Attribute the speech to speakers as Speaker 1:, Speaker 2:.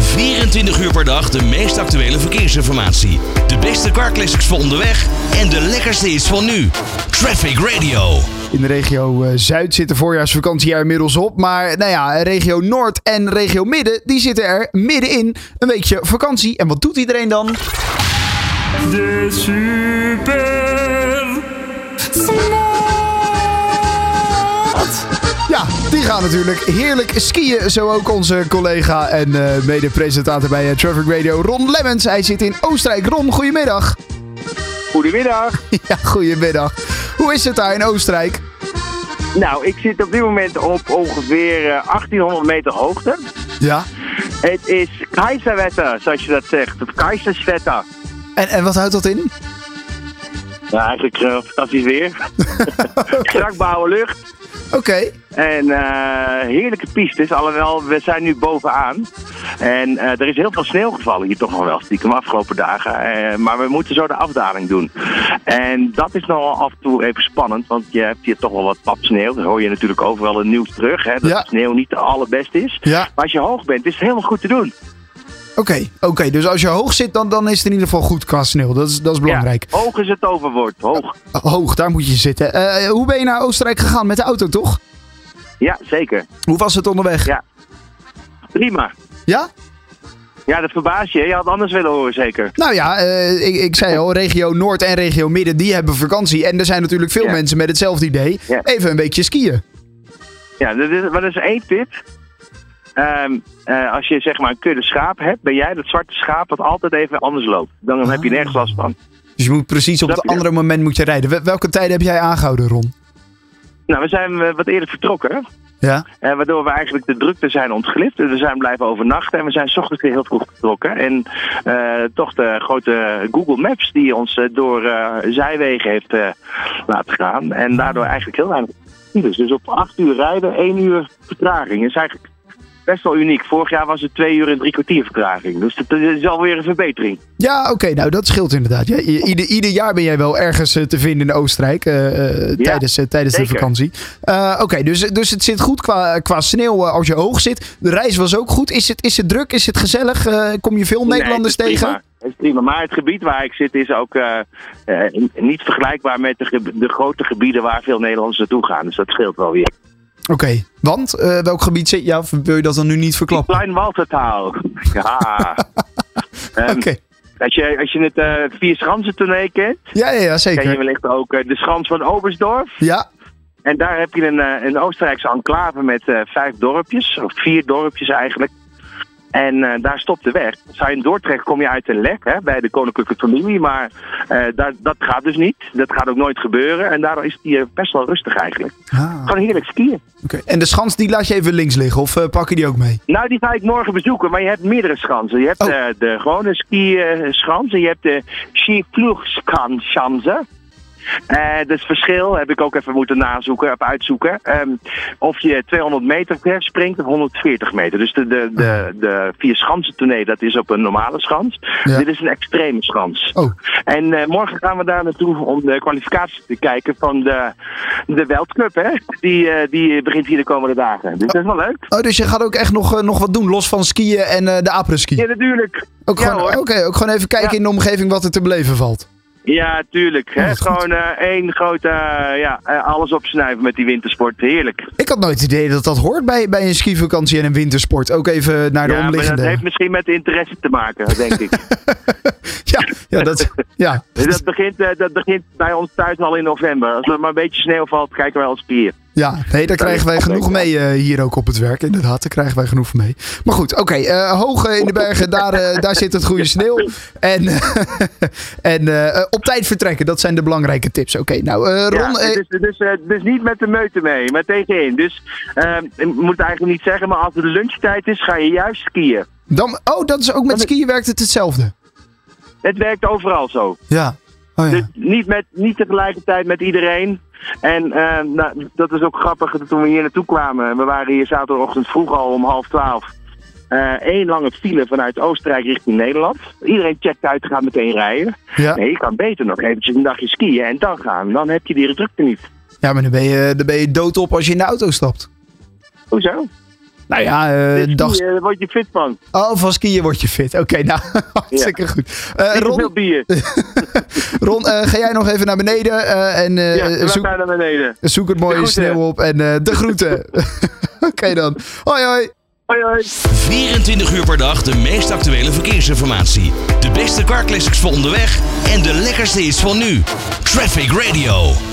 Speaker 1: 24 uur per dag de meest actuele verkeersinformatie. De beste carclassics voor onderweg en de lekkerste is van nu. Traffic Radio.
Speaker 2: In de regio eh, Zuid zit de voorjaarsvakantie er inmiddels op. Maar nou ja, regio Noord en regio Midden, die zitten er middenin. Een weekje vakantie. En wat doet iedereen dan?
Speaker 3: De super.
Speaker 2: Ja, die gaan natuurlijk heerlijk skiën. Zo ook onze collega en eh, mede-presentator bij eh, Traffic Radio, Ron Lemmens. Hij zit in Oostenrijk. Ron, goedemiddag.
Speaker 4: Goedemiddag.
Speaker 2: Ja, goedemiddag. Hoe is het daar in Oostenrijk?
Speaker 4: Nou, ik zit op dit moment op ongeveer eh, 1800 meter hoogte.
Speaker 2: Ja.
Speaker 4: Het is keizerwetter, zoals je dat zegt. Of keizerswetter.
Speaker 2: En, en wat houdt dat in?
Speaker 4: Nou, eigenlijk eh, fantastisch weer. Strak blauwe lucht.
Speaker 2: Oké.
Speaker 4: En eh, heerlijke pistes. Alhoewel, we zijn nu bovenaan. En eh, er is heel veel sneeuw gevallen hier toch nog wel stiekem afgelopen dagen. Eh, maar we moeten zo de afdaling doen. En dat is nogal af en toe even spannend. Want je hebt hier toch wel wat pap sneeuw. Dat hoor je natuurlijk overal in het nieuws terug. Hè, dat
Speaker 2: Ja.
Speaker 4: de sneeuw niet de allerbeste is.
Speaker 2: Ja.
Speaker 4: Maar als je hoog bent, is het helemaal goed te doen.
Speaker 2: Oké, oké. dus als je hoog zit, dan, dan is het in ieder geval goed qua sneeuw. Dat is, dat is belangrijk.
Speaker 4: Ja, hoog is het overwoord. Hoog.
Speaker 2: Hoog, daar moet je zitten. Eh, hoe ben je naar Oostenrijk gegaan met de auto, toch?
Speaker 4: Ja, zeker.
Speaker 2: Hoe was het onderweg?
Speaker 4: Ja. Prima.
Speaker 2: Ja?
Speaker 4: Ja, dat verbaast je. hè. Je had het anders willen horen, zeker.
Speaker 2: Nou ja, eh, ik, ik zei al, regio Noord en regio Midden, die hebben vakantie. En er zijn natuurlijk veel
Speaker 4: Ja.
Speaker 2: mensen met hetzelfde idee.
Speaker 4: Ja.
Speaker 2: Even een weekje skiën.
Speaker 4: Ja, dat is, maar dat is één tip. Ehm, eh, als je zeg maar een kudde schaap hebt, ben jij dat zwarte schaap dat altijd even anders loopt. Dan heb je nergens last van.
Speaker 2: Dus je moet precies op
Speaker 4: Snap
Speaker 2: het
Speaker 4: je?
Speaker 2: andere moment moet je rijden. Wel- Welke tijden heb jij aangehouden, Ron?
Speaker 4: Nou, we zijn eh, wat eerder vertrokken.
Speaker 2: Ja.
Speaker 4: eh, waardoor we eigenlijk de drukte zijn ontglipt. Dus We zijn blijven overnachten en we zijn 's ochtends weer heel vroeg vertrokken. En eh, toch de grote Google Maps die ons eh, door eh, zijwegen heeft eh, laten gaan. En daardoor eigenlijk heel weinig files. Dus op acht uur rijden, één uur vertraging. is eigenlijk best wel uniek. Vorig jaar was het twee uur en drie kwartier vertraging. Dus dat is alweer een verbetering.
Speaker 2: Ja, oké, nou dat scheelt inderdaad. Ja, i- ieder, ieder jaar ben jij wel ergens eh, te vinden in Oostenrijk eh, eh,
Speaker 4: Ja,
Speaker 2: tijdens, eh, tijdens de
Speaker 4: zeker.
Speaker 2: vakantie. Eh, oké, dus, dus het zit goed qua, qua sneeuw eh, als je hoog zit. De reis was ook goed. Is het, is het druk? Is het gezellig? Eh, kom je veel Nederlanders
Speaker 4: Nee, het is
Speaker 2: tegen?
Speaker 4: prima. Het is prima. Maar het gebied waar ik zit is ook eh, eh, niet vergelijkbaar met de, ge- de grote gebieden waar veel Nederlanders naartoe gaan. Dus dat scheelt wel weer.
Speaker 2: Oké, want eh, welk gebied zit je? Ja, of wil je dat dan nu niet verklappen?
Speaker 4: Klein Waltertaal. Ja. Ehm,
Speaker 2: Oké,
Speaker 4: als, je, als je het eh Vier Schansen tournee kent,
Speaker 2: ja, ja, ja,
Speaker 4: ken je
Speaker 2: zeker.
Speaker 4: wellicht ook eh, de Schans van Obersdorf.
Speaker 2: Ja,
Speaker 4: En daar heb je een, eh, een Oostenrijkse enclave met eh, vijf dorpjes, of vier dorpjes eigenlijk. En eh, daar stopt de weg. Zou je hem doortrekken, kom je uit een lek hè, bij de koninklijke familie. Maar eh, daar, dat gaat dus niet. Dat gaat ook nooit gebeuren. En daardoor is het hier best wel rustig eigenlijk.
Speaker 2: Ah, oké.
Speaker 4: Gewoon heerlijk skiën.
Speaker 2: En de schans, die laat je even links liggen of eh, pak je die ook mee?
Speaker 4: Nou, die ga ik morgen bezoeken, maar je hebt meerdere schansen. Je hebt
Speaker 2: Oh.
Speaker 4: eh, de gewone ski-schans en je hebt de skivloegschansen. Eh dat is verschil, heb ik ook even moeten nazoeken, of uitzoeken. Ehm, of je 200 meter ver springt of 140 meter. Dus de, de, de, de vier schansen tournee, dat is op een normale schans.
Speaker 2: Oh. Ja.
Speaker 4: Dit is een extreme schans.
Speaker 2: Oh,
Speaker 4: En eh, morgen gaan we daar naartoe om de kwalificatie te kijken van de, de Wereldcup, hè. Die, eh, die begint hier de komende dagen. Dus dat is wel leuk.
Speaker 2: oh dus je gaat ook echt nog, eh, nog wat doen, los van skiën en eh, de apres-ski?
Speaker 4: Ja, natuurlijk.
Speaker 2: Ook,
Speaker 4: ja,
Speaker 2: gewoon,
Speaker 4: hoor.
Speaker 2: oké, ook gewoon even kijken
Speaker 4: Ja.
Speaker 2: in de omgeving wat er te beleven valt.
Speaker 4: Ja, tuurlijk.
Speaker 2: Oh,
Speaker 4: hè.
Speaker 2: wat goed.
Speaker 4: Gewoon eh, één grote, eh, ja, eh, alles opsnuiven met die wintersport. Heerlijk.
Speaker 2: Ik had nooit het idee dat dat hoort bij, bij een skivakantie en een wintersport. Ook even naar de
Speaker 4: ja, maar dat
Speaker 2: omliggende.
Speaker 4: heeft misschien met interesse te maken, denk ik.
Speaker 2: Ja, ja, dat, ja.
Speaker 4: Dus dat, begint, eh, dat begint bij ons thuis al in november. Als er maar een beetje sneeuw valt, kijken wij al spier.
Speaker 2: ja, nee, daar krijgen wij genoeg mee eh, hier ook op het werk. Inderdaad, daar krijgen wij genoeg mee. Maar goed, oké. eh, hoog eh, in de bergen, daar, eh, daar zit het goede sneeuw. En, en eh, op tijd vertrekken, dat zijn de belangrijke tips. Oké, nou eh,
Speaker 4: Ja,
Speaker 2: Ron, eh,
Speaker 4: dus, dus, eh, dus niet met de meute mee, maar tegenin. Dus eh, ik moet het eigenlijk niet zeggen, maar als het lunchtijd is, ga je juist skiën.
Speaker 2: dan, oh, dat is ook met skiën werkt het hetzelfde.
Speaker 4: Het werkt overal zo.
Speaker 2: Ja, oh
Speaker 4: Dus
Speaker 2: ja.
Speaker 4: niet, met, niet tegelijkertijd met iedereen. En eh, nou, dat is ook grappig dat toen we hier naartoe kwamen. We waren hier zaterdagochtend vroeg al om half twaalf. Eén lange file vanuit Oostenrijk richting Nederland. Iedereen checkt uit, gaat meteen rijden.
Speaker 2: ja.
Speaker 4: Nee, je kan beter nog eventjes een dagje skiën en dan gaan. Dan heb je die drukte niet.
Speaker 2: Ja, maar dan ben je, dan ben je doodop als je in de auto stapt.
Speaker 4: Hoezo?
Speaker 2: Nou ja, eh,
Speaker 4: Dus
Speaker 2: dag...
Speaker 4: skiën, daar word je fit van.
Speaker 2: Oh, van skiën word je fit. Oké, nou, hartstikke goed. Eh,
Speaker 4: Niet te veel
Speaker 2: Ron,
Speaker 4: bier.
Speaker 2: Ron eh, ga jij nog even naar beneden eh, en eh,
Speaker 4: Ja, we
Speaker 2: zoek,
Speaker 4: gaan naar beneden.
Speaker 2: zoek het mooie
Speaker 4: groeten.
Speaker 2: sneeuw op en eh, de groeten. Oké dan. Hoi hoi.
Speaker 4: Hoi, hoi.
Speaker 1: 24 uur per dag de meest actuele verkeersinformatie. De beste carclassics voor onderweg en de lekkerste is van nu. Traffic Radio.